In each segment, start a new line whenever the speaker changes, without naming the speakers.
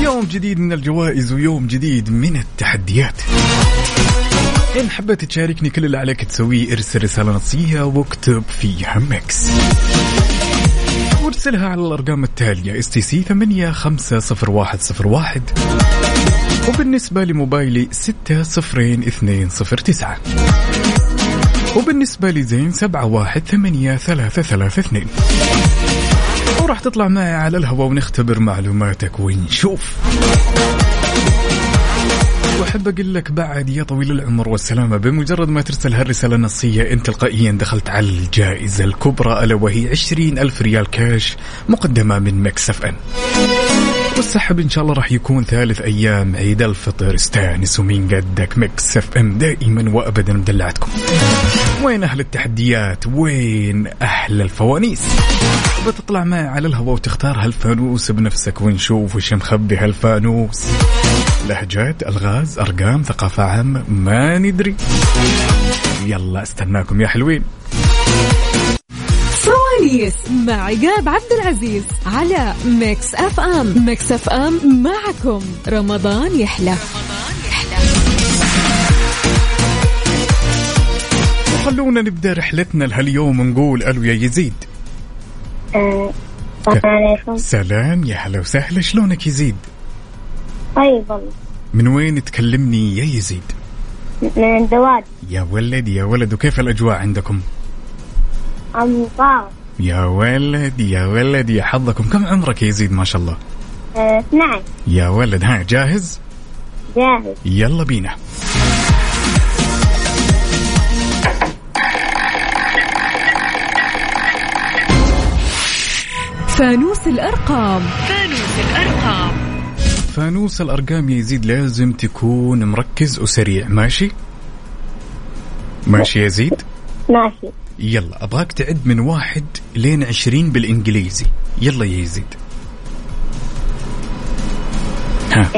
يوم جديد من الجوائز ويوم جديد من التحديات إن حبيت تشاركني كل اللي عليك تسويه ارسل رسالة نصية واكتب في همكس وارسلها على الأرقام التالية اس تي سي 850101 وبالنسبة لموبايلي 602209 وبالنسبة لزين 718332 وراح تطلع معي على الهواء ونختبر معلوماتك ونشوف واحب اقول لك بعد يا طويل العمر والسلامه بمجرد ما ترسل هالرساله النصيه انت تلقائيا دخلت على الجائزه الكبرى الا وهي 20 الف ريال كاش مقدمه من مكسف ان والسحب ان شاء الله راح يكون ثالث ايام عيد الفطر استانس ومين قدك مكس اف ام دائما وابدا مدلعتكم وين اهل التحديات وين احلى الفوانيس بتطلع معي على الهواء وتختار هالفانوس بنفسك ونشوف وش مخبي هالفانوس لهجات الغاز ارقام ثقافه عامه ما ندري يلا استناكم يا حلوين
فوانيس مع عقاب عبد العزيز على ميكس اف ام ميكس اف ام معكم رمضان يحلى
خلونا نبدا رحلتنا لهاليوم ونقول الو يا يزيد
السلام عليكم
سلام يا هلا وسهلا شلونك يزيد
طيب والله
من وين تكلمني يا يزيد
من الدواد
يا ولد يا ولد وكيف الأجواء عندكم
أمطار
يا ولد يا ولد يا حظكم كم عمرك يا يزيد ما شاء الله
آه، 12
يا ولد ها جاهز
جاهز
يلا بينا
فانوس الارقام
فانوس الأرقام يا يزيد لازم تكون مركز وسريع ماشي ماشي يا يزيد
ماشي
يلا أبغاك تعد من واحد لين عشرين بالإنجليزي يلا يا يزيد ها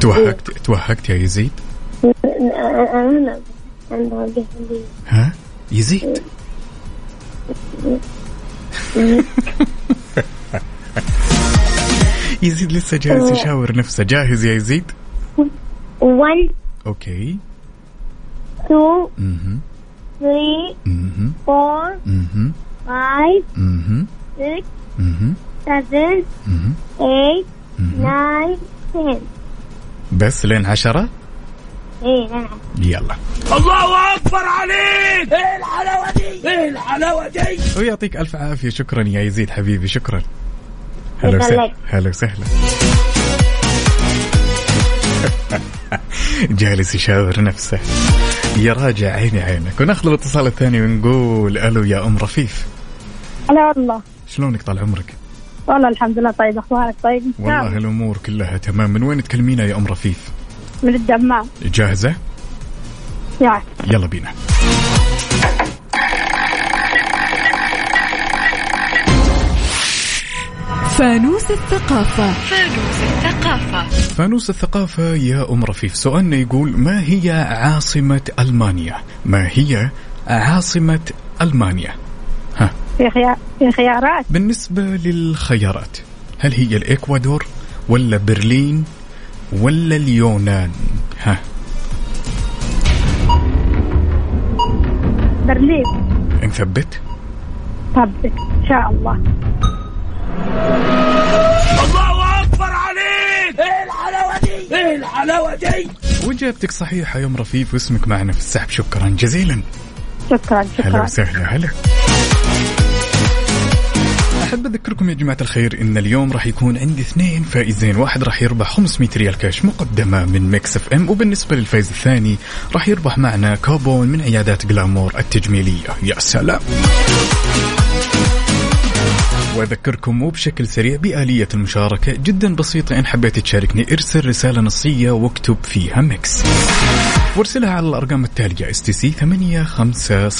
توهقت توهقت يا يزيد
أنا أنا بحبي.
ها يزيد يزيد لسه جالس يشاور نفسه جاهز يا يزيد
1
اوكي
2
اها
3
اها
4
اها
5
اها
6
اها
7
اها
8 9 10
بس لين عشرة
اي نعم
يلا
الله اكبر عليك ايه الحلاوه دي ايه الحلاوه دي
ويعطيك الف عافيه شكرا يا يزيد حبيبي شكرا هلا
يسلمك.
وسهلا هلا وسهلا جالس يشاور نفسه يا راجع عيني عينك وناخذ الاتصال الثاني ونقول الو يا ام رفيف
هلا والله
شلونك طال عمرك؟
والله الحمد لله طيب اخبارك طيب
والله الامور كلها تمام من وين تكلمينا يا ام رفيف؟
من الدمام
جاهزه؟
يا
يلا بينا
فانوس الثقافة
فانوس الثقافة يا أم رفيف سؤالنا يقول ما هي عاصمة ألمانيا؟ ما هي عاصمة ألمانيا؟
في خيار في خيارات
بالنسبة للخيارات هل هي الإكوادور ولا برلين ولا اليونان؟ ها
برلين
نثبت؟
طبك ان شاء الله
الله اكبر عليك ايه الحلاوه دي ايه الحلاوه دي
وإجابتك صحيحة يا أم رفيف واسمك معنا في السحب شكرا جزيلا
شكرا
هلا
شكرا
وسهلا هلا أحب أذكركم يا جماعة الخير إن اليوم راح يكون عندي اثنين فائزين واحد راح يربح 500 ريال كاش مقدمة من ميكس اف ام وبالنسبة للفائز الثاني راح يربح معنا كوبون من عيادات جلامور التجميلية يا سلام واذكركم مو بشكل سريع بآلية المشاركة جدا بسيطة إن حبيت تشاركني ارسل رسالة نصية واكتب فيها ميكس وارسلها على الارقام التاليه اس تي سي 850101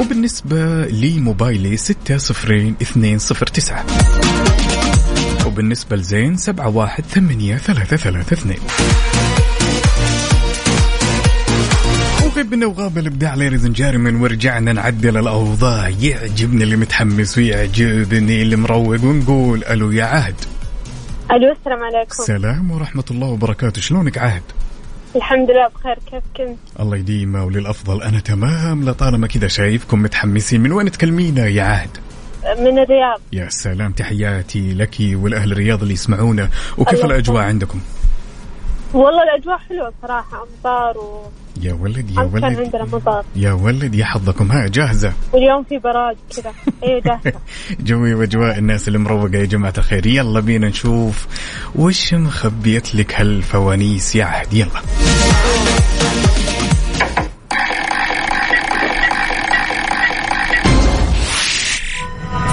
وبالنسبه لموبايلي 602209 وبالنسبه لزين 718332 وغير جايبنا وغاب الابداع على زنجارمن ورجعنا نعدل الاوضاع يعجبني اللي متحمس ويعجبني اللي مروق ونقول الو يا عهد
الو السلام عليكم
سلام ورحمه الله وبركاته شلونك عهد
الحمد لله بخير كيف كنت؟
الله يديمه وللافضل انا تمام لطالما كذا شايفكم متحمسين من وين تكلمينا يا عهد
من الرياض
يا سلام تحياتي لك والاهل الرياض اللي يسمعونا وكيف
الله
الاجواء عندكم
والله الاجواء حلوه صراحه امطار و...
يا ولد يا
أم كان عندنا
ولد
مطر.
يا ولد يا حظكم ها جاهزه
واليوم في براد كذا إيه، اي جاهزه
جوي واجواء الناس اللي مروقه يا جماعه الخير يلا بينا نشوف وش مخبيت لك هالفوانيس يا عهد يلا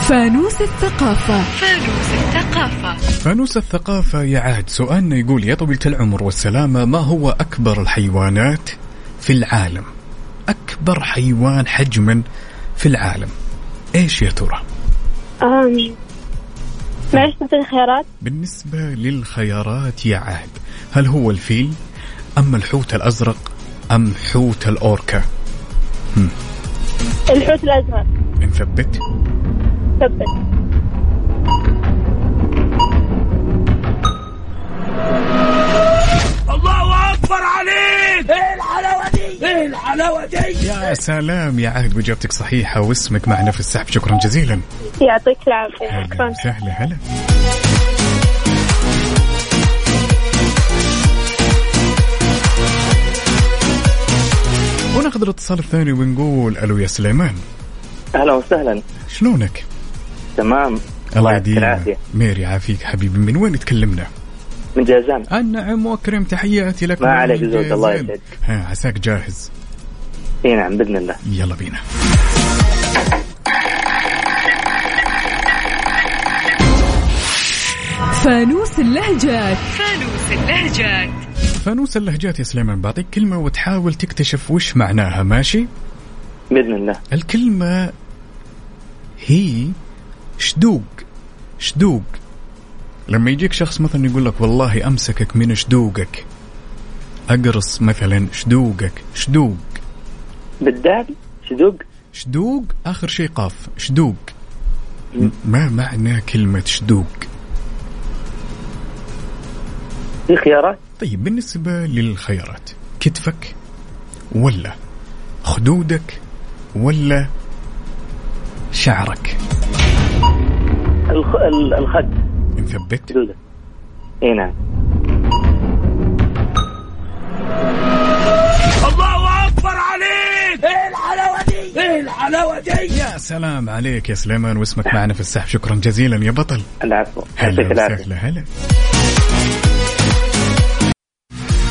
فانوس الثقافة
فانوس الثقافه يا عهد سؤالنا يقول يا طويله العمر والسلامه ما هو اكبر الحيوانات في العالم اكبر حيوان حجما في العالم ايش يا ترى
آمين معلش بدي الخيارات
بالنسبة للخيارات يا عهد هل هو الفيل أم الحوت الأزرق أم حوت الأوركا
الحوت الازرق
نثبت
ثبت
الله اكبر عليك ايه الحلاوه دي ايه الحلاوه دي
يا سلام يا عهد وإجابتك صحيحة واسمك معنا في السحب شكرا جزيلا
يعطيك العافيه
هلا
شكرا
وسهلا هلا وناخذ الاتصال الثاني ونقول الو يا سليمان
اهلا وسهلا
شلونك؟
تمام
الله
يعطيك
يديمك
العافية.
مير يعافيك حبيبي من وين تكلمنا؟
من جازان
النعم واكرم تحياتي لك
ما
ومن
عليك زود،
الجزائر.
الله يسعدك.
ها عساك جاهز
اي نعم باذن الله
يلا بينا
فانوس اللهجات
فانوس اللهجات يا سليمان بعطيك كلمة وتحاول تكتشف وش معناها ماشي
باذن الله
الكلمة هي شدوق شدوق لما يجيك شخص مثلا يقول لك والله امسكك من شدوقك اقرص مثلا شدوقك شدوق
بالدال شذوق
شدوق اخر شيء قاف شدوق م- ما معنى كلمة شدوق
في خيارات
طيب بالنسبة للخيارات كتفك ولا خدودك ولا شعرك
الخ... ال- الخد
نثبت
شذوقه اي نعم
الله اكبر عليك ايه الحلاوه دي ايه الحلاوه دي
يا سلام عليك يا سليمان واسمك معنا في السحب شكرا جزيلا يا بطل
العفو
هلا
يعطيك العافيه
وسهلا هلا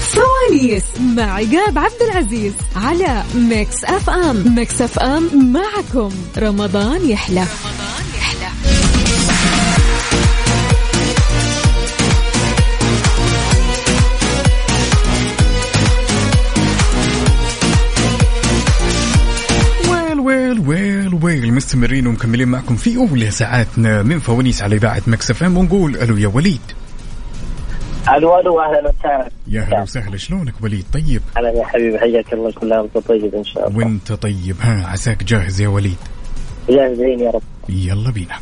فوانيس مع عقاب عبد العزيز على ميكس اف ام ميكس اف ام معكم رمضان يحلى
ويل ويل ويل ويل مستمرين ومكملين معكم في اولى ساعاتنا من فوانيس على اذاعه مكسف ام ونقول الو يا وليد
الو الو اهلا وسهلا
يا هلا وسهلا شلونك وليد طيب
اهلا يا حبيبي حياك الله كل عام وأنت طيب ان شاء الله
وانت طيب ها عساك جاهز يا وليد
جاهزين يا رب
يلا بينا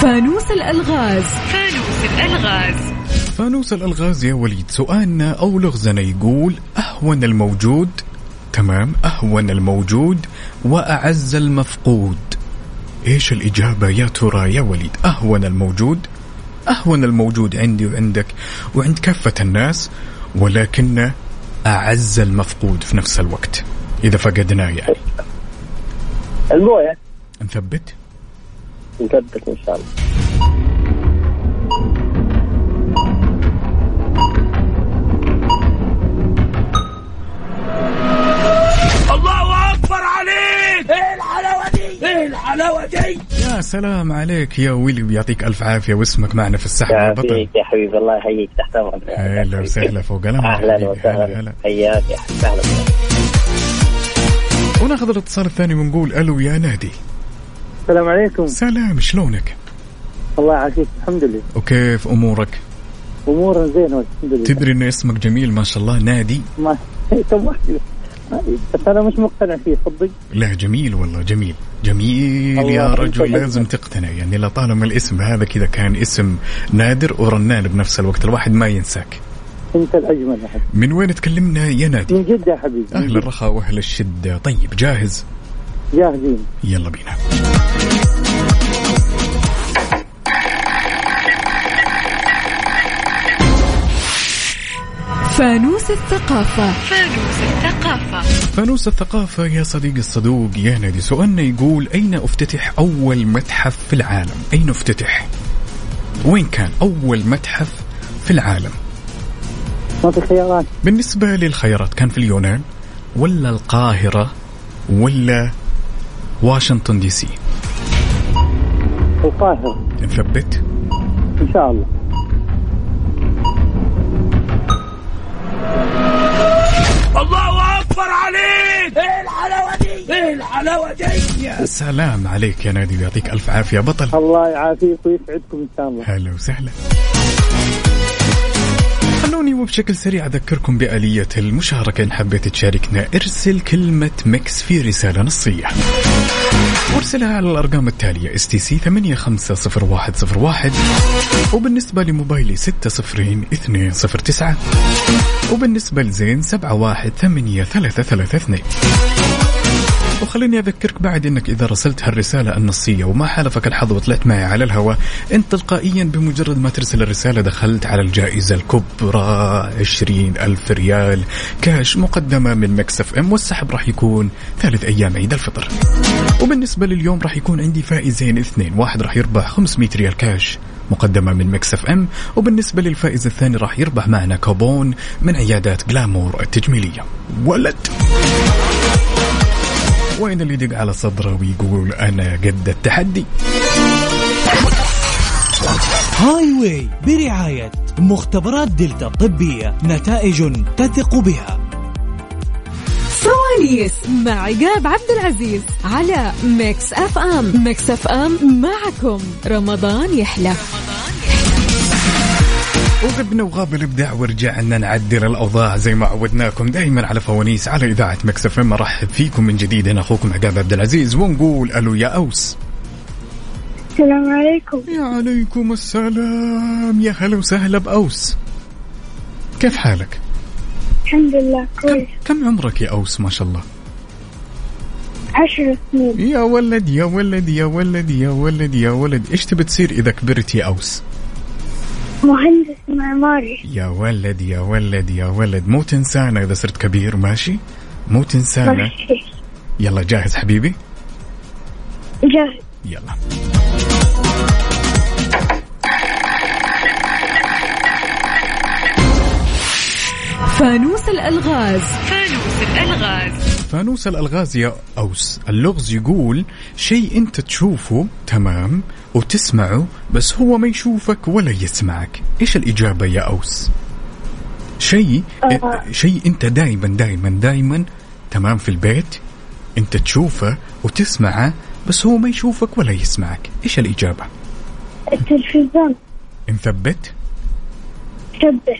فانوس الالغاز
فانوس الالغاز يا وليد سؤالنا او لغزنا يقول اهون الموجود تمام اهون الموجود واعز المفقود ايش الاجابه يا ترى يا وليد اهون الموجود اهون الموجود عندي وعندك وعند كافه الناس ولكن اعز المفقود في نفس الوقت اذا فقدناه يعني
المويه
نثبت
نثبت ان شاء الله
الله اكبر عليك ايه الحلاوه دي ايه الحلاوه دي
يا سلام عليك يا ويلي ويعطيك الف عافيه واسمك معنا في السحب يا بطل
يعافيك يا حبيبي الله يحييك تحت امرك
هلا وسهلا فوق الامر
اهلا
حبيبي. هلا هلا.
وسهلا حياك يا حبيبي اهلا وسهلا
وناخذ الاتصال الثاني ونقول الو يا نادي
السلام عليكم
سلام شلونك
الله يعافيك الحمد لله
وكيف امورك؟
امورنا زينه الحمد لله
تدري ان اسمك جميل ما شاء الله نادي
ما إيه، طب واحد بس انا مش مقتنع فيه صدق
لا جميل والله جميل جميل يا
الله
رجل
يسعدك.
لازم تقتنع يعني لطالما الاسم هذا كذا كان اسم نادر ورنان بنفس الوقت الواحد ما ينساك
انت الاجمل يا حبيبي
من وين تكلمنا يا نادي
من جد يا حبيبي
اهل الرخاء واهل الشده طيب جاهز
جاهزين
يلا بينا
فانوس الثقافة
فانوس الثقافة يا صديقي الصدوق يا نادي سؤالنا يقول أين افتتح أول متحف في العالم أين افتتح وين كان أول متحف في العالم
ما في خيارات
بالنسبة للخيارات كان في اليونان ولا القاهرة ولا واشنطن دي سي
القاهره
نثبت
ان شاء الله
الله اكبر عليك ايه الحلاوه دي ايه الحلاوه دي يا
يا سلام عليك يا نادي ويعطيك ألف عافية بطل
الله يعافيك ويسعدكم ان شاء الله
هلا وسهلا خلوني وبشكل سريع أذكركم بآلية المشاركة إن حبيت تشاركنا ارسل كلمة مكس في رسالة نصية وارسلها على الأرقام التالية اس تي سي 850101 وبالنسبة لموبايلي 60209 وبالنسبة لزين 718332 وخليني أذكرك بعد أنك إذا رسلت هالرسالة النصية وما حالفك الحظ وطلعت معي على الهواء أنت تلقائيا بمجرد ما ترسل الرسالة دخلت على الجائزة الكبرى 20 ألف ريال كاش مقدمة من مكسف أم والسحب راح يكون ثالث أيام عيد الفطر وبالنسبة لليوم راح يكون عندي فائزين اثنين واحد راح يربح 500 ريال كاش مقدمة من مكسف أم وبالنسبة للفائز الثاني راح يربح معنا كوبون من عيادات جلامور التجميلية ولد وين اللي يدق على صدره ويقول أنا قد التحدي
هاي واي برعاية مختبرات دلتا الطبية نتائج تثق بها
سواليس مع عقاب عبد العزيز على ميكس اف ام ميكس اف ام معكم رمضان يحلى
وغبنا وغاب الابداع ورجعنا نعدل الاوضاع زي ما عودناكم دائما على فوانيس على اذاعه مكسف مرحب فيكم من جديد انا اخوكم عقاب عبد العزيز ونقول الو يا اوس
السلام عليكم
يا عليكم السلام يا هلا وسهلا باوس كيف حالك؟
الحمد لله
كم,
كويس
كم عمرك يا اوس ما شاء الله؟
عشر سنين
يا ولد يا ولد يا ولد يا ولد يا ولد ايش تبي تصير اذا كبرت يا اوس؟
مهندس معماري
يا ولد يا ولد يا ولد مو تنسانا اذا صرت كبير ماشي؟ مو تنسانا
ماشي.
يلا جاهز حبيبي؟
جاهز
يلا
فانوس الالغاز
فانوس الالغاز يا اوس اللغز يقول شيء انت تشوفه تمام وتسمعه بس هو ما يشوفك ولا يسمعك ايش الاجابه يا اوس شيء شيء انت دائما دائما دائما تمام في البيت انت تشوفه وتسمعه بس هو ما يشوفك ولا يسمعك ايش الاجابه
التلفزيون
نثبت
شبه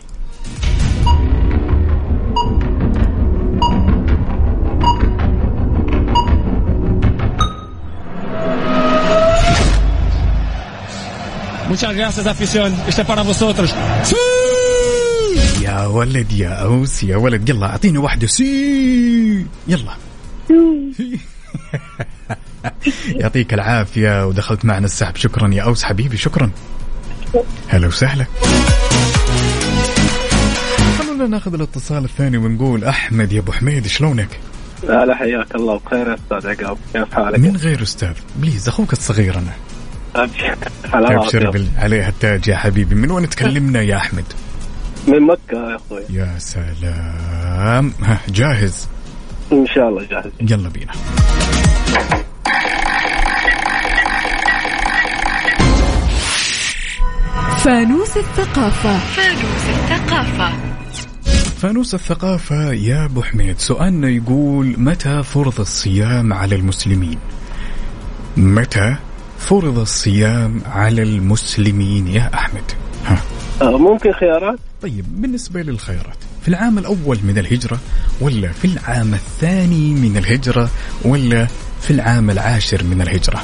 Muchas gracias, afición. Este para vosotros.
يا ولد يا اوس يا ولد يلا اعطيني واحده سي يلا يعطيك العافيه ودخلت معنا السحب شكرا يا اوس حبيبي شكرا هلا وسهلا خلونا ناخذ الاتصال الثاني ونقول احمد يا ابو حميد شلونك
لا لا حياك الله بخير يا استاذ عقاب كيف حالك؟
من غير استاذ بليز اخوك الصغير انا ابشر
حلاوة
بال- عليها التاج يا حبيبي من وين تكلمنا يا احمد
من مكه يا اخوي
يا سلام ها جاهز
ان شاء الله جاهز
يلا بينا
فانوس الثقافة
فانوس الثقافة يا أبو حميد سؤالنا يقول متى فرض الصيام على المسلمين متى فرض الصيام على المسلمين يا أحمد ها.
آه، ممكن خيارات
طيب بالنسبة للخيارات في العام الأول من الهجرة ولا في العام الثاني من الهجرة ولا في العام العاشر من الهجرة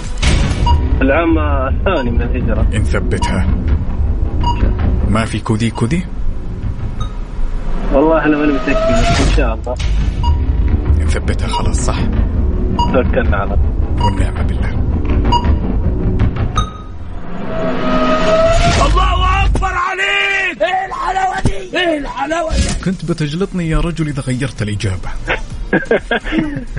العام الثاني من الهجرة
نثبتها ما في كودي كودي
والله أنا ماني متأكد بس إن شاء الله
نثبتها خلاص صح
توكلنا على الله
والنعمة بالله
الله اكبر عليك ايه الحلاوه دي ايه الحلاوه دي
كنت بتجلطني يا رجل إذا غيرت الإجابة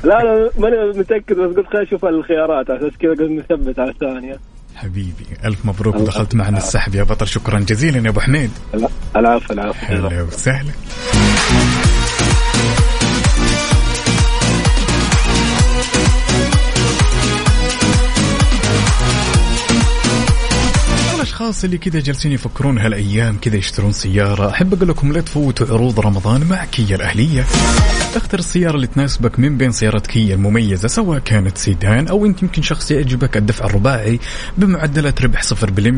لا أنا ماني متأكد بس قلت خليني أشوف الخيارات على أساس كذا قلت نثبت على الثانية
حبيبي ألف مبروك دخلت معنا السحب يا بطل شكرا جزيلا يا أبو حميد
الع- العفو العفو
هلا وسهلا الاشخاص اللي كذا جالسين يفكرون هالايام كذا يشترون سياره احب اقول لكم لا تفوتوا عروض رمضان مع كيا الاهليه اختر السياره اللي تناسبك من بين سيارات كيا المميزه سواء كانت سيدان او انت يمكن شخص يعجبك الدفع الرباعي بمعدلات ربح 0%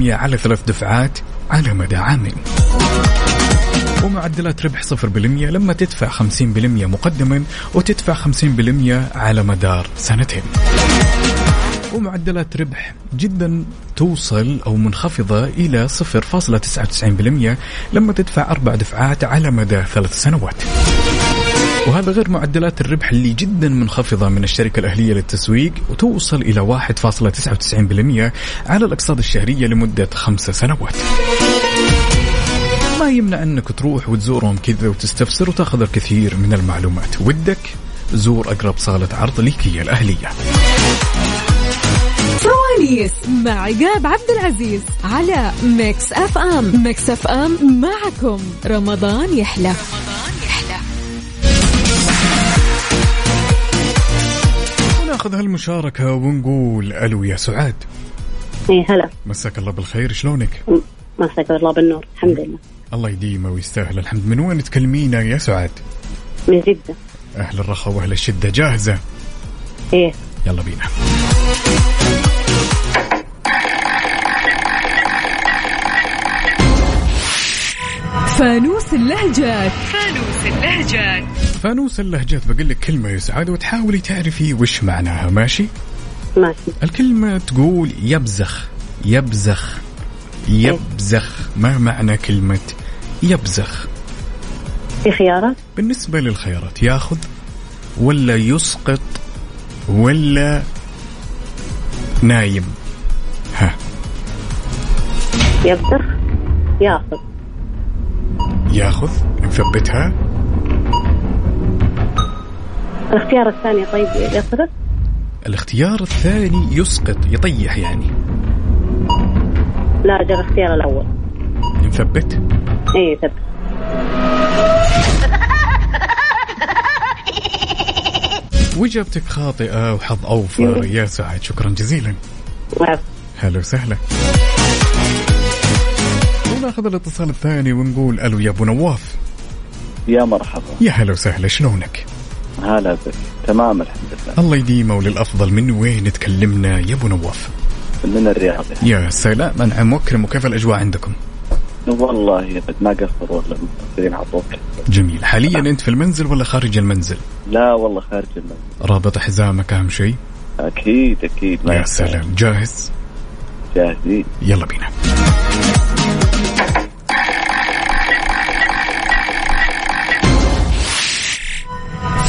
على ثلاث دفعات على مدى عام ومعدلات ربح 0% لما تدفع 50% مقدما وتدفع 50% على مدار سنتين ومعدلات ربح جدا توصل أو منخفضة إلى 0.99% لما تدفع أربع دفعات على مدى ثلاث سنوات وهذا غير معدلات الربح اللي جدا منخفضة من الشركة الأهلية للتسويق وتوصل إلى 1.99% على الأقساط الشهرية لمدة خمسة سنوات ما يمنع انك تروح وتزورهم كذا وتستفسر وتاخذ الكثير من المعلومات ودك زور اقرب صاله عرض ليكيا الاهليه
فوانيس مع عقاب عبد العزيز على ميكس اف ام ميكس اف ام معكم رمضان يحلى
وناخذ هالمشاركه ونقول الو يا سعاد
اي إيه، هلا
مساك الله بالخير شلونك
مساك الله بالنور الحمد لله
الله يديمه ويستاهل الحمد من وين تكلمينا يا سعاد
من جدة
اهل الرخاء واهل الشده جاهزه
ايه
يلا بينا
فانوس اللهجات
فانوس اللهجات بقول لك كلمه يا سعاد وتحاولي تعرفي وش معناها ماشي
ماشي
الكلمة تقول يبزخ يبزخ يبزخ ما معنى كلمة يبزخ
في خيارات
بالنسبة للخيارات ياخذ ولا يسقط ولا نايم ها
يبزخ ياخذ
ياخذ نثبتها
الاختيار الثاني طيب يصرف
الاختيار الثاني يسقط يطيح يعني
لا جاب الاختيار الاول
نثبت
ايه ثبت
واجابتك خاطئة وحظ اوفر يا سعد شكرا جزيلا
وعفو.
هلا وسهلا وناخذ الاتصال الثاني ونقول الو يا ابو نواف
يا مرحبا
يا هلا وسهلا شلونك؟
هلا بك تمام الحمد لله
الله يديمه وللافضل من وين تكلمنا يا ابو نواف؟
من الرياض يا
يا سلام انعم واكرم وكيف الاجواء عندكم؟
والله يبد ما قصر والله مقصرين على طول
جميل، حاليا انت في المنزل ولا خارج المنزل؟
لا والله خارج المنزل
رابط حزامك اهم شيء؟
اكيد اكيد ما
يا
يحتاج.
سلام جاهز؟
جاهزين
يلا بينا.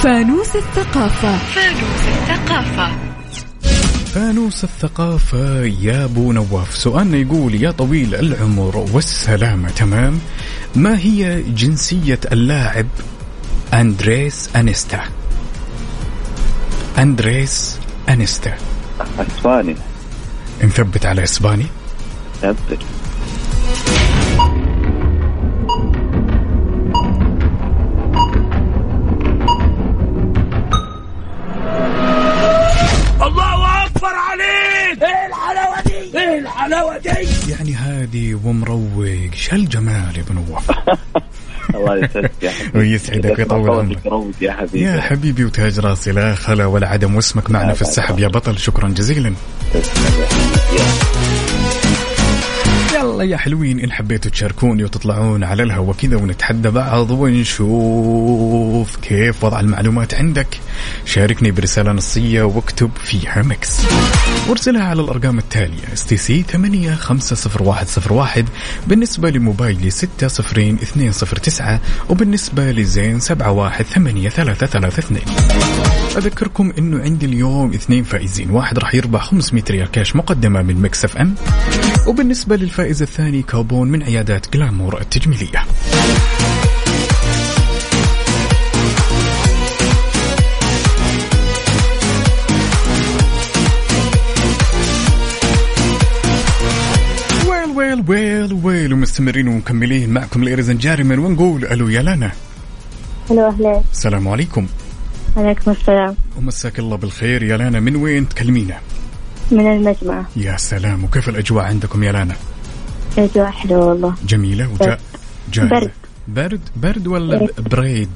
فانوس الثقافة
فانوس الثقافة يا أبو نواف سؤالنا يقول يا طويل العمر والسلامة تمام ما هي جنسية اللاعب أندريس أنيستا أندريس أنيستا
اسباني
نثبت على إسباني
ثبت
الله اكبر عليك ايه الحلاوه دي ايه الحلاوه دي
يعني هادي ومروق شو هالجمال يا أبو نواف
الله يسعدك يا حبيبي
ويسعدك ويطول عمرك
صوتك روج يا حبيبي
يا حبيبي وتاج راسي لا خلا ولا عدم واسمك معنا في السحب يا بطل شكرا جزيلا يلا يا حلوين ان حبيتوا تشاركوني وتطلعون على الهوا كذا ونتحدى بعض ونشوف كيف وضع المعلومات عندك شاركني برسالة نصية واكتب فيها مكس وارسلها على الارقام التالية اس تي سي 850101 بالنسبة لموبايلي 60209 وبالنسبة لزين 718332 اذكركم انه عندي اليوم اثنين فائزين واحد راح يربح 500 ريال كاش مقدمة من مكس اف ام وبالنسبة للفائز الثاني كابون من عيادات جلامور التجميلية ويل ويل ويل ويل ومستمرين ومكملين معكم ليرز جارما ونقول الو يا لنا
هلا وهلا
السلام عليكم
عليكم السلام
ومساك الله بالخير يا لانا من وين تكلمينا
من المجمع
يا سلام وكيف الاجواء عندكم يا لانا
اجواء حلوة والله
جميله وجا
برد.
جاهزة
برد.
برد برد ولا
إيه.
ب- بريد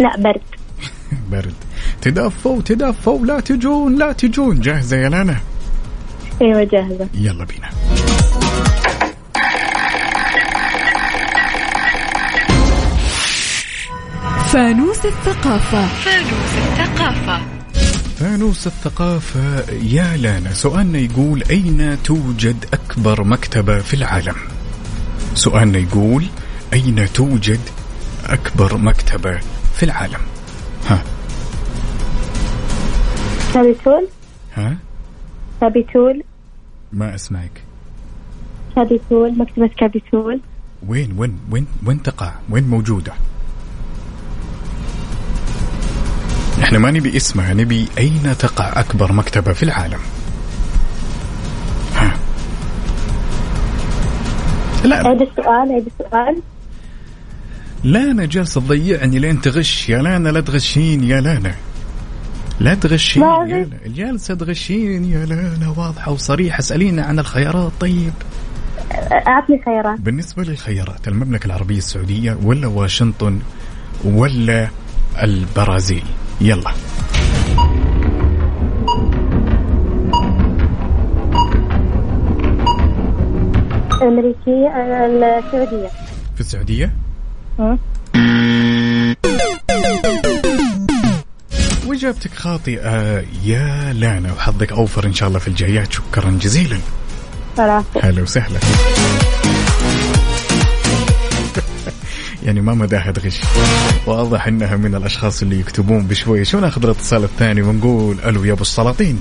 لا برد
برد تدفوا تدفوا لا تجون لا تجون جاهزه يا لانا
ايوه جاهزة
يلا بينا
فانوس الثقافة
فانوس الثقافة يا لانا سؤالنا يقول أين توجد أكبر مكتبة في العالم سؤالنا يقول أين توجد أكبر مكتبة في العالم ها
شابيتول
ها
شابيتول
ما أسمعك
شابيتول مكتبة كابيتول
وين وين وين وين تقع وين موجودة احنا ما نبي اسمها نبي أين تقع أكبر مكتبة في العالم ها لا
عيد السؤال عيد السؤال
لا انا جالس تضيعني لين تغش يا لانا لا تغشين يا لانا لا تغشين
ما
يا
أغش.
لانا. جالسه تغشين يا لانا واضحه وصريحه اسالينا عن الخيارات طيب
اعطني خيارات
بالنسبه للخيارات المملكه العربيه السعوديه ولا واشنطن ولا البرازيل يلا
الامريكية السعودية
في السعوديه
ها؟
واجابتك خاطئه يا لانا وحظك اوفر ان شاء الله في الجايات شكرا جزيلا
ثلاثة
هلا وسهلا يعني ما مداها تغش واضح انها من الاشخاص اللي يكتبون بشوي شو ناخذ الاتصال الثاني ونقول الو يا ابو السلاطين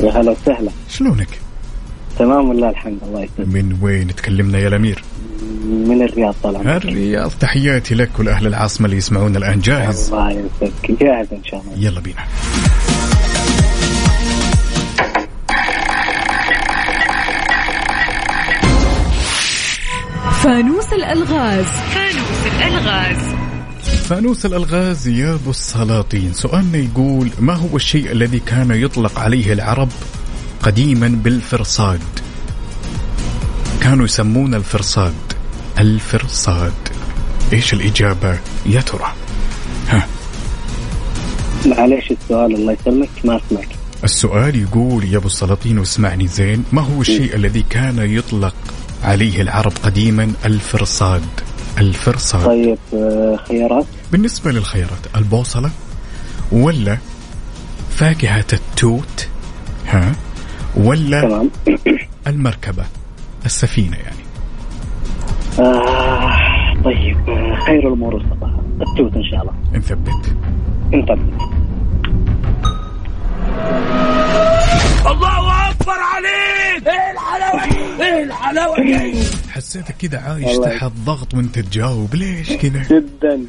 يا هلا وسهلا
شلونك
تمام والله الحمد الله يسلمك
من وين تكلمنا يا الامير
من الرياض طلع
الرياض تحياتي لك والاهل العاصمه اللي يسمعونا الان جاهز
الله يسلمك جاهز ان شاء الله
يلا بينا
فانوس الألغاز
فانوس الالغاز يا ابو السلاطين سؤالنا يقول ما هو الشيء الذي كان يطلق عليه العرب قديما بالفرصاد كانوا يسمون الفرصاد الفرصاد ايش الاجابه يا ترى
معليش السؤال الله يسلمك ما اسمعك
السؤال يقول يا ابو السلاطين واسمعني زين ما هو
إيه.
الشيء الذي كان يطلق عليه العرب قديما الفرصاد الفرصاد
طيب آه، خيارات
بالنسبة للخيارات البوصلة ولا فاكهة التوت ها ولا
تمام
المركبة السفينة يعني
آه طيب آه، خير الامور وسطها التوت ان شاء الله
نثبت
انطلق
الله اكبر عليك ايه الحلاوه دي ايه الحلاوه دي
حسيتك كذا عايش
والله.
تحت ضغط وانت تجاوب ليش كذا
جدا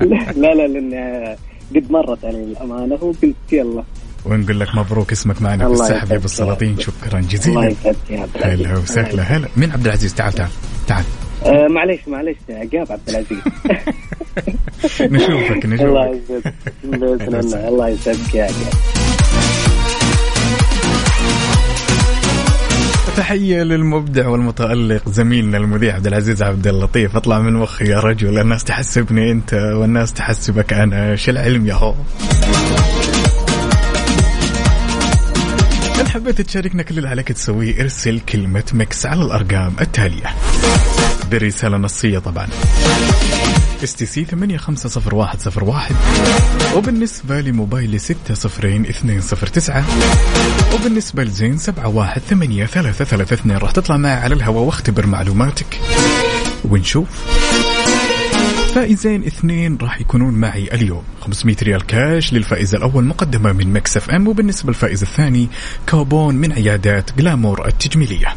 لا لا لان آه، قد مرت علي الامانه وقلت يلا
ونقول لك مبروك اسمك معنا في
الله
السحب يا
يسعدك.
ابو السلاطين شكرا
الله
جزيلا
يسعدك يا عبد العزيز
هلا وسهلا هلا من عبد العزيز تعال تعال تعال
آه معليش معليش عقاب عبد العزيز
نشوفك
الله
نشوفك
يسعدك باذن الله الله يسعدك يا عقاب
تحية للمبدع والمتألق زميلنا المذيع عبد العزيز عبد اللطيف اطلع من مخي يا رجل الناس تحسبني انت والناس تحسبك انا شو العلم يا هو إن حبيت تشاركنا كل اللي عليك تسويه ارسل كلمة مكس على الأرقام التالية برسالة نصية طبعا اس تي سي 850101 وبالنسبة لموبايل 60209 وبالنسبة لزين 7183332 راح تطلع معي على الهواء واختبر معلوماتك ونشوف فائزين اثنين راح يكونون معي اليوم 500 ريال كاش للفائز الأول مقدمة من مكس اف ام وبالنسبة للفائز الثاني كوبون من عيادات جلامور التجميلية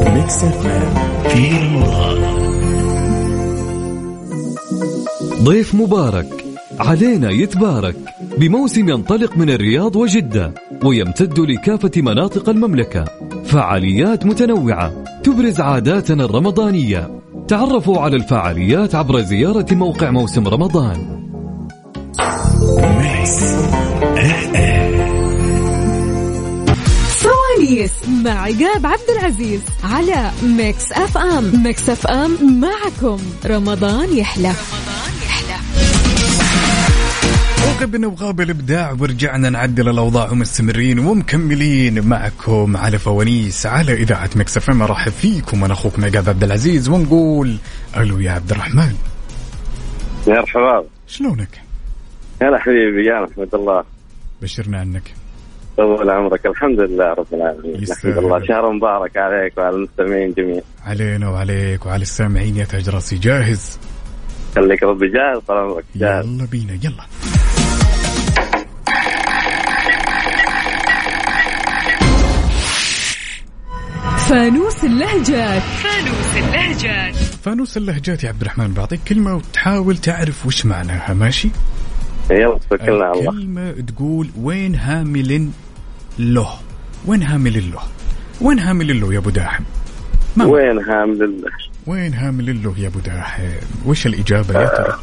ميكس اف ام في رمضان
ضيف مبارك علينا يتبارك بموسم ينطلق من الرياض وجدة ويمتد لكافة مناطق المملكة فعاليات متنوعة تبرز عاداتنا الرمضانية تعرفوا على الفعاليات عبر زيارة موقع موسم رمضان
سواليس مع عقاب عبد العزيز على ميكس اف ام ميكس اف ام معكم رمضان يحلى
وغبنا وغاب الابداع ورجعنا نعدل الاوضاع ومستمرين ومكملين معكم على فوانيس على اذاعه مكس اف ام ارحب فيكم انا اخوكم عقاب عبد العزيز ونقول الو يا عبد الرحمن
يا مرحبا
شلونك؟
هلا حبيبي يا محمد الله
بشرنا عنك
طول عمرك الحمد لله رب العالمين الحمد الله شهر مبارك عليك وعلى المستمعين جميعا
علينا وعليك وعلى السامعين يا تاج راسي جاهز
خليك ربي جاهز طال عمرك جاهز
يلا بينا يلا
فانوس اللهجات فانوس اللهجات
فانوس اللهجات يا عبد الرحمن بعطيك كلمه وتحاول تعرف وش معناها ماشي
يلا توكلنا على الله
الكلمة تقول وين هامل له وين هامل له وين هامل له يا ابو داحم ما هو؟
وين هامل الله
وين هامل له يا ابو داحم وش الاجابة يا ترى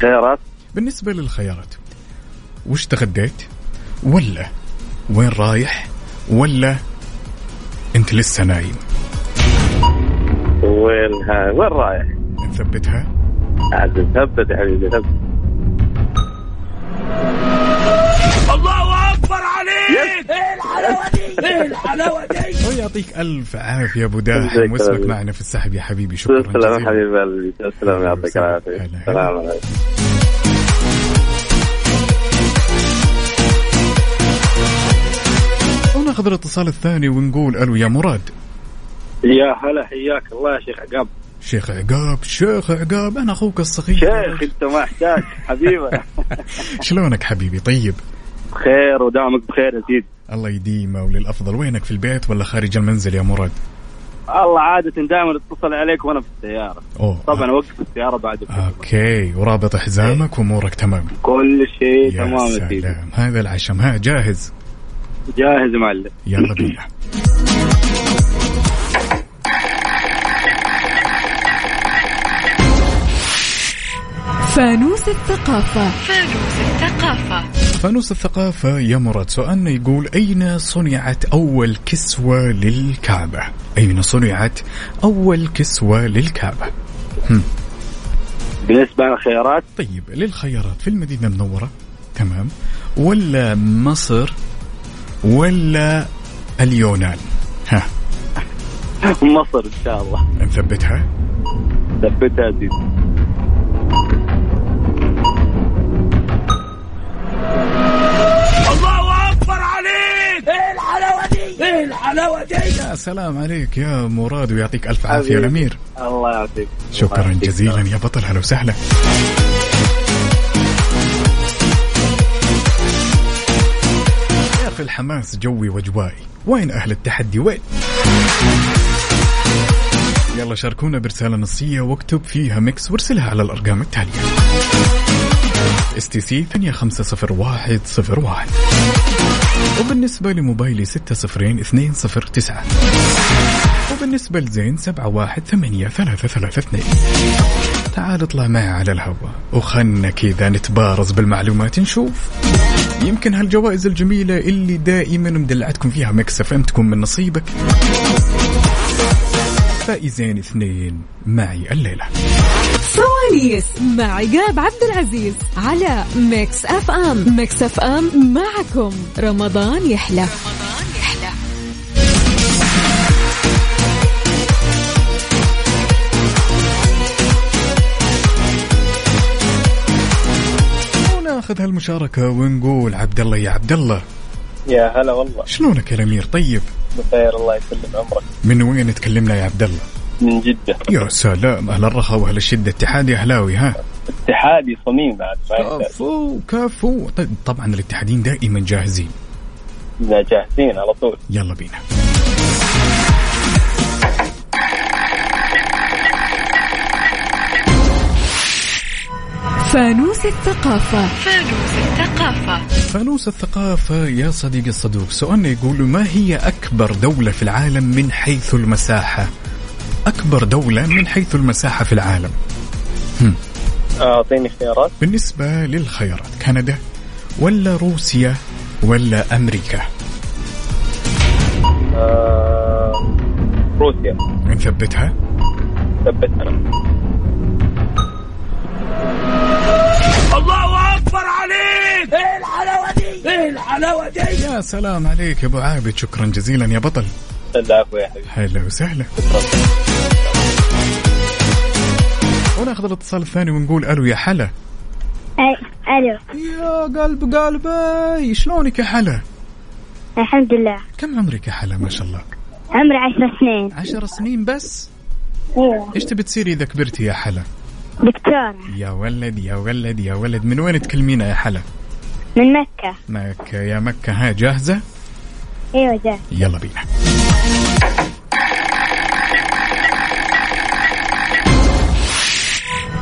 خيارات
بالنسبة للخيارات وش تغديت ولا وين رايح ولا انت لسه نايم
وين ها وين رايح؟
نثبتها
عاد ثبت يا حبيبي ثبت
الله اكبر عليك ايه الحلاوه دي ايه الحلاوه دي
ويعطيك الف عافية يا ابو داحم
يسلمك.
واسمك معنا في السحب يا حبيبي شكرا
تسلم
جزيلا.
يا حبيب قلبي تسلم يعطيك العافيه السلام عليكم
وناخذ الاتصال الثاني ونقول الو يا مراد
يا هلا حياك الله يا شيخ عقاب
شيخ عقاب شيخ عقاب انا اخوك الصغير
شيخ انت ما احتاج حبيبه
شلونك حبيبي طيب
بخير ودامك بخير يا سيدي
الله يديمه وللافضل وينك في البيت ولا خارج المنزل يا مراد
الله عادة دائما اتصل عليك وانا في السيارة
اوه
طبعا وقف السيارة بعد
آه. اوكي ورابط حزامك وامورك تمام
كل شيء
يا
إيه. تمام يا سيدي
سلام هذا العشم ها جاهز
جاهز يا معلم
يلا بينا
فانوس الثقافة فانوس الثقافة
فانوس الثقافة يا مراد سؤالنا يقول أين صنعت أول كسوة للكعبة؟ أين صنعت أول كسوة للكعبة؟ هم.
بالنسبة للخيارات
طيب للخيارات في المدينة المنورة تمام ولا مصر ولا اليونان ها
مصر ان شاء الله
نثبتها
ثبتها يا سيدي
الله اكبر عليك ايه الحلاوه دي ايه الحلاوه دي
يا سلام عليك يا مراد ويعطيك ألف عافية
حبيبي.
الأمير
الله يعطيك الله
شكرا
يعطيك.
جزيلا يا بطل هلا وسهلا يا أخي الحماس جوي وجوائي وين أهل التحدي وين يلا شاركونا برسالة نصية واكتب فيها ميكس وارسلها على الأرقام التالية اس تي سي 850101 وبالنسبة لموبايلي 602209 وبالنسبة لزين 7183332 تعال اطلع معي على الهواء وخلنا كذا نتبارز بالمعلومات نشوف يمكن هالجوائز الجميلة اللي دائما مدلعتكم فيها مكس اف ام تكون من نصيبك فائزين اثنين معي الليلة
فوانيس مع عقاب عبد العزيز على ميكس اف ام ميكس اف ام معكم رمضان يحلى
وناخذ هالمشاركة ونقول عبد الله يا عبد الله
يا هلا والله
شلونك يا امير طيب
بخير الله يسلم عمرك
من وين تكلمنا يا عبد الله
من جدة
يا سلام اهل الرخاء واهل الشدة اتحادي اهلاوي ها
اتحادي صميم بعد ما يحتاج.
كفو كفو طيب، طبعا الاتحادين دائما جاهزين
لا، جاهزين على طول
يلا بينا
فانوس الثقافة فانوس الثقافة
فانوس الثقافة يا صديقي الصدوق سؤالنا يقول ما هي أكبر دولة في العالم من حيث المساحة أكبر دولة من حيث المساحة في العالم
اعطيني اختيارات
بالنسبة للخيارات كندا ولا روسيا ولا أمريكا
آه، روسيا
نثبتها
ثبت انا
الله اكبر عليك ايه الحلاوه دي ايه الحلاوه دي
يا سلام عليك يا أبو عابد شكرا جزيلا يا بطل
العفو يا حبيبي
هلا وسهلا وناخذ الاتصال الثاني ونقول ألو يا حلا
أي- الو
يا قلب قلبي شلونك يا حلا
الحمد لله
كم عمرك يا حلا ما شاء الله
عمري عشر سنين
عشر سنين بس
أيوة.
ايوه
ايش تبي تصيري اذا كبرتي يا حلا
دكتورة
يا ولد يا ولد يا ولد من وين تكلمينا يا حلا
من مكة
مكة يا مكة ها جاهزة
ايوه
أيوة،
جاهز
يلا بينا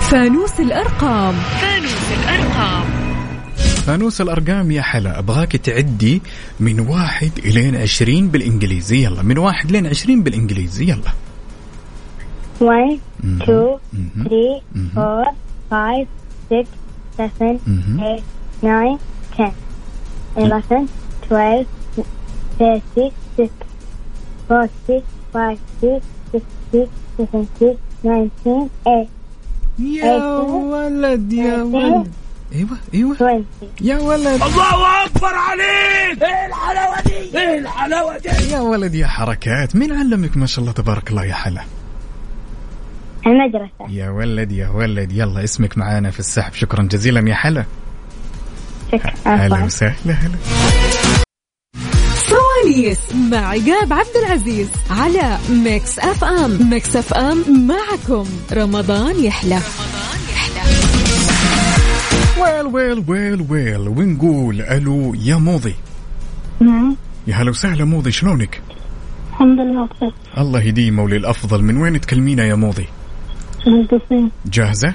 فانوس الأرقام فانوس الأرقام
فانوس الأرقام يا حلا أبغاك تعدي من واحد إلين عشرين بالإنجليزي يلا من واحد لين عشرين بالإنجليزي يلا
1 2
مهم.
3
مهم.
4 5 6 7
مهم.
8 9 10 11 12 13 16 14 15 16 17 19 18
يا ولد يا ولد ايوه ايوه يا ولد
الله اكبر عليك ايه الحلاوه دي ايه الحلاوه دي
يا ولد يا حركات مين علمك ما شاء الله تبارك الله يا حلا
المدرسة
يا ولد يا ولد يلا اسمك معانا في السحب شكرا جزيلا يا حلا هلا
شكرا
وسهلا هلا
فوانيس مع عقاب عبد العزيز على ميكس اف ام ميكس اف ام معكم رمضان يحلى
ويل ويل ويل ويل ونقول الو يا موضي
نعم
يا هلا وسهلا موضي شلونك؟
الحمد لله بخير
الله يديمه وللافضل من وين تكلمينا يا موضي؟
من قصيم
جاهزه؟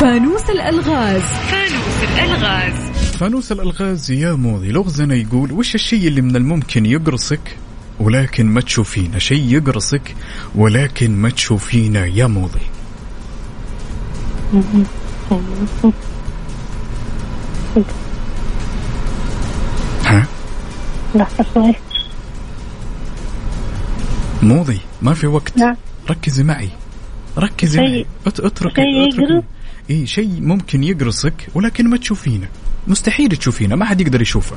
فانوس الألغاز فانوس الألغاز
فانوس الالغاز يا موضي لغزنا يقول وش الشيء اللي من الممكن يقرصك ولكن ما تشوفينه شيء يقرصك ولكن ما تشوفينه يا موضي ها
لحظة شوي
موضي ما في وقت
نعم
ركزي معي ركزي
شيء-
معي أت- اترك
شيء
اترك
يقرص؟
اي شيء ممكن يقرصك ولكن ما تشوفينه مستحيل تشوفينه ما حد يقدر يشوفه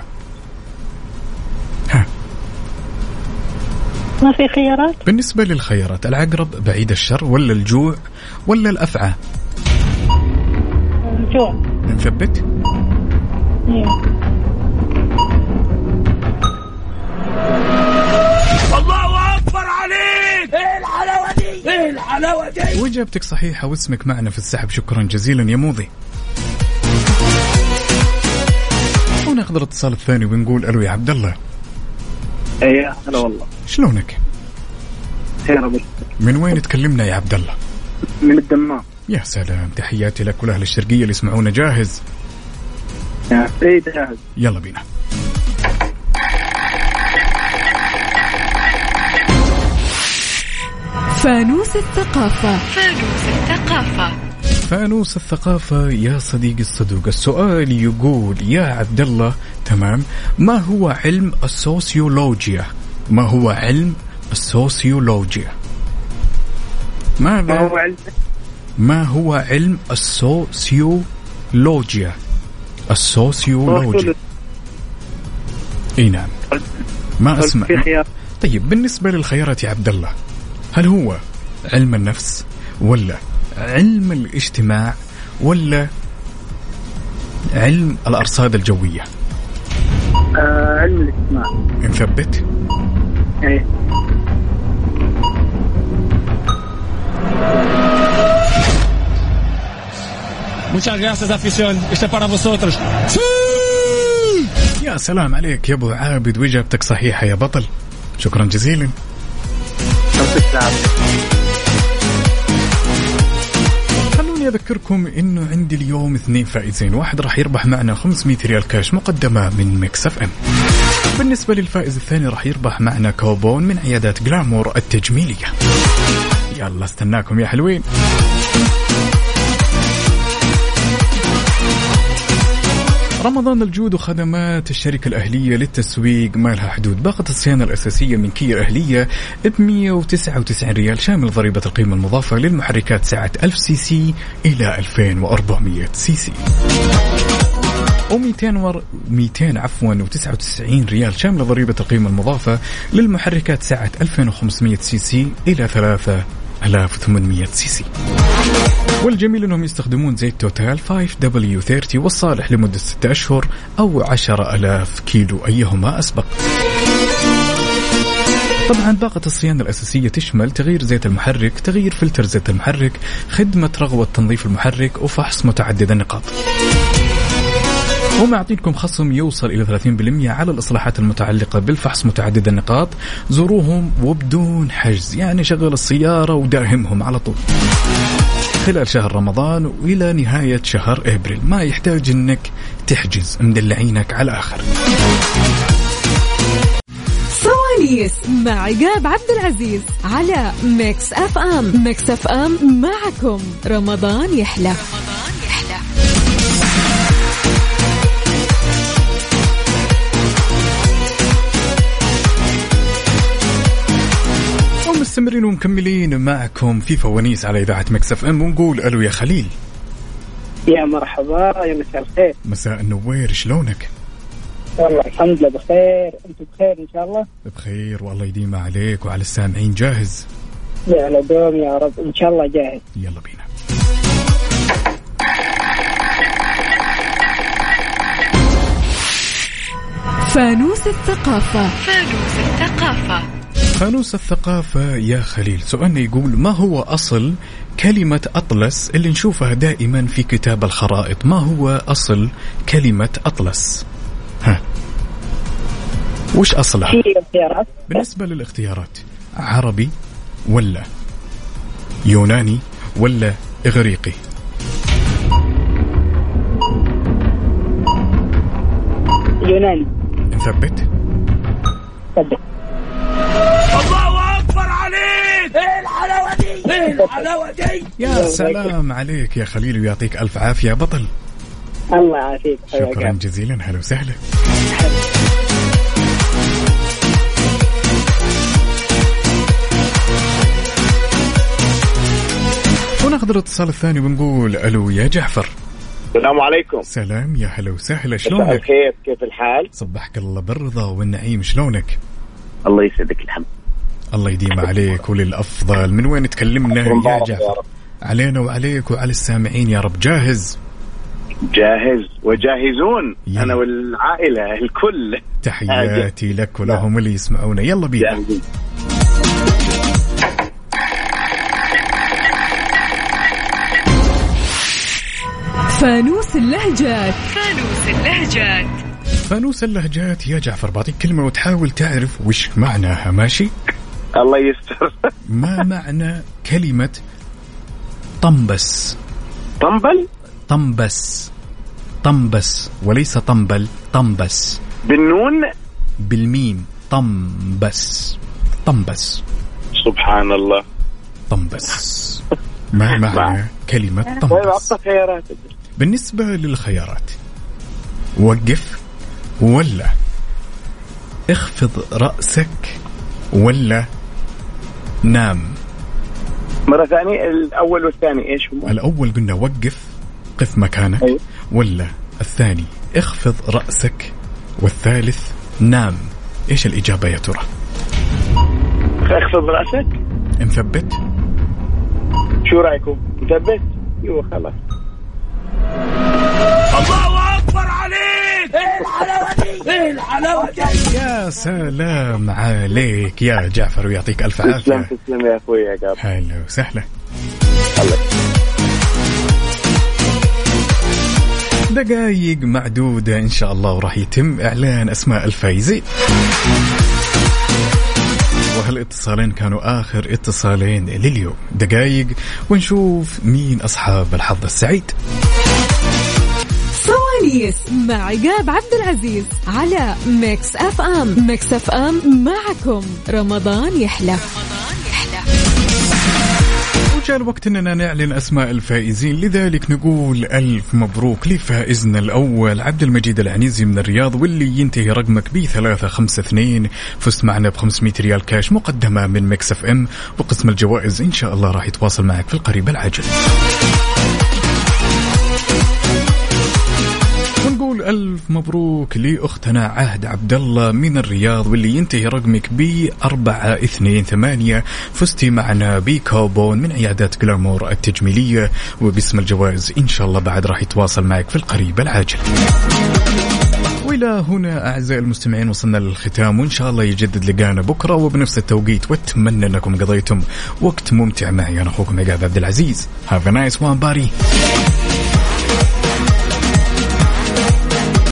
ما في خيارات
بالنسبة للخيارات العقرب بعيد الشر ولا الجوع ولا الأفعى
جوع
نثبت
الله اكبر عليك ايه الحلاوه دي ايه الحلاوه دي
وإجابتك صحيحة واسمك معنا في السحب شكرا جزيلا يا موضي وناخذ الاتصال الثاني ونقول الو يا عبد الله
اي هلا والله
شلونك؟
خير ابو
من وين تكلمنا يا عبد الله؟
من الدمام
يا سلام تحياتي لك والاهل الشرقيه اللي يسمعونا جاهز
اي جاهز
يلا بينا
فانوس الثقافة فانوس الثقافة
فانوس الثقافة يا صديقي الصدوق السؤال يقول يا عبد الله تمام ما هو علم السوسيولوجيا ما هو علم السوسيولوجيا
ما
ماذا
هو علم
ما هو علم السوسيولوجيا السوسيولوجيا اي نعم ما اسمع
في خيار
طيب بالنسبة للخيارات يا عبد الله هل هو علم النفس ولا علم الاجتماع ولا علم الأرصاد الجوية
آه علم الاجتماع
نثبت
ايه
Muchas gracias, afición. Este para vosotros.
يا سلام عليك يا أبو عابد وإجابتك صحيحة يا بطل شكرا جزيلا خلوني اذكركم انه عندي اليوم اثنين فائزين واحد راح يربح معنا 500 ريال كاش مقدمه من ميكس اف ام بالنسبه للفائز الثاني راح يربح معنا كوبون من عيادات جلامور التجميليه يلا استناكم يا حلوين رمضان الجود وخدمات الشركة الأهلية للتسويق ما لها حدود باقة الصيانة الأساسية من كيا أهلية ب 199 ريال شامل ضريبة القيمة المضافة للمحركات سعة 1000 سي سي إلى 2400 سي سي و200 ور 200 عفوا و99 ريال شاملة ضريبة القيمة المضافة للمحركات سعة 2500 سي سي إلى 3800 سي سي والجميل انهم يستخدمون زيت توتال 5W30 والصالح لمدة 6 أشهر أو 10000 كيلو أيهما أسبق طبعا باقة الصيانة الأساسية تشمل تغيير زيت المحرك تغيير فلتر زيت المحرك خدمة رغوة تنظيف المحرك وفحص متعدد النقاط هم يعطيكم خصم يوصل إلى 30% على الإصلاحات المتعلقة بالفحص متعدد النقاط زوروهم وبدون حجز يعني شغل السيارة وداهمهم على طول خلال شهر رمضان والى نهايه شهر ابريل ما يحتاج انك تحجز مدلعينك على الاخر
سواليس مع عقاب عبد العزيز على ميكس اف ام ميكس اف ام معكم رمضان يحلى
ومستمرين ومكملين معكم في فوانيس على اذاعه مكس اف ام ونقول الو يا خليل
يا مرحبا يا مساء الخير
مساء النوير شلونك
والله الحمد لله بخير انتم بخير ان شاء الله
بخير والله يديم عليك وعلى السامعين جاهز
يا لدوم يا رب ان شاء الله جاهز
يلا بينا
فانوس الثقافة فانوس الثقافة
فانوس الثقافة يا خليل سؤالنا يقول ما هو أصل كلمة أطلس اللي نشوفها دائما في كتاب الخرائط ما هو أصل كلمة أطلس ها وش أصلها
في اختيارات
بالنسبة للاختيارات عربي ولا يوناني ولا إغريقي
يوناني
نثبت
تفضل
الله اكبر عليك ايه الحلاوه دي ايه الحلاوه دي
يا سلام عليك يا خليل ويعطيك ألف عافية يا بطل
الله يعافيك
أيوة،
حياك
شكرا
الله.
جزيلا هلا وسهلا وناخذ الاتصال الثاني ونقول الو يا جعفر
السلام عليكم
سلام يا هلا وسهلا
مساء
شلونك؟
الخير كيف الحال؟
صبحك الله بالرضا والنعيم شلونك؟
الله يسعدك الحمد
الله يديم عليك وللافضل من وين تكلمنا يا
مبارك يا
جعفر؟
رب.
علينا وعليك وعلى السامعين يا رب جاهز
جاهز وجاهزون انا والعائله الكل
تحياتي لك
نعم.
ولهم اللي يسمعونا يلا بينا
جاهزين
فانوس اللهجات فانوس اللهجات
فانوس اللهجات يا جعفر بعطيك كلمة وتحاول تعرف وش معناها ماشي؟
الله يستر
ما معنى كلمة طنبس؟
طنبل
طنبس طنبس وليس طنبل طنبس
بالنون
بالميم طنبس طنبس
سبحان الله
طنبس ما معنى كلمة طنبس بالنسبة للخيارات وقف ولا اخفض رأسك ولا نام
مرة ثانية الأول والثاني إيش هم؟
الأول قلنا وقف قف مكانك أيوه. ولا الثاني اخفض رأسك والثالث نام إيش الإجابة يا ترى؟
اخفض رأسك
مثبت؟
شو رأيكم؟ مثبت؟ أيوه خلاص
الله أكبر عليك إيه الحلاوة دي؟ إيه الحلاوة دي؟
يا سلام عليك يا جعفر ويعطيك ألف عافية
تسلم تسلم يا اخوي يا قاطع
هلا وسهلا دقائق معدودة إن شاء الله وراح يتم إعلان أسماء الفايزين وهالاتصالين كانوا آخر اتصالين لليوم دقائق ونشوف مين أصحاب الحظ السعيد
سواليس مع عقاب عبد العزيز على ميكس اف ام ميكس اف ام معكم رمضان يحلى
وجاء الوقت اننا نعلن اسماء الفائزين لذلك نقول الف مبروك لفائزنا الاول عبد المجيد العنيزي من الرياض واللي ينتهي رقمك ب 352 فزت معنا ب 500 ريال كاش مقدمه من ميكس اف ام وقسم الجوائز ان شاء الله راح يتواصل معك في القريب العاجل ونقول ألف مبروك لأختنا عهد عبد الله من الرياض واللي ينتهي رقمك ب 428 فزتي معنا بكوبون من عيادات جلامور التجميلية وباسم الجوائز إن شاء الله بعد راح يتواصل معك في القريب العاجل وإلى هنا أعزائي المستمعين وصلنا للختام وإن شاء الله يجدد لقانا بكرة وبنفس التوقيت وأتمنى أنكم قضيتم وقت ممتع معي أنا أخوكم عقاب عبد العزيز Have a nice one buddy